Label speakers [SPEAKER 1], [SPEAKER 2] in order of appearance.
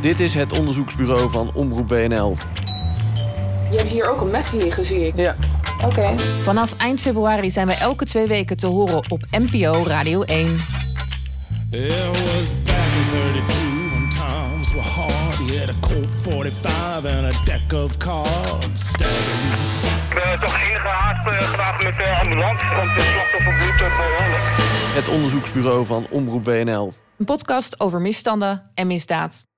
[SPEAKER 1] Dit is het onderzoeksbureau van Omroep WNL.
[SPEAKER 2] Je hebt hier ook een mes liggen, zie ik.
[SPEAKER 1] Ja.
[SPEAKER 2] Oké.
[SPEAKER 3] Vanaf eind februari zijn wij elke twee weken te horen op NPO Radio 1.
[SPEAKER 4] It was back in 32 when times were hard. He had a Colt 45 and a deck of cards. Staggering.
[SPEAKER 5] Ik ben Eh, toch ingehaast eh, vandaag met de ambulance, want de slachtoffer bloedt eh, behoorlijk.
[SPEAKER 1] Het onderzoeksbureau van Omroep WNL.
[SPEAKER 3] Een podcast over misstanden en misdaad.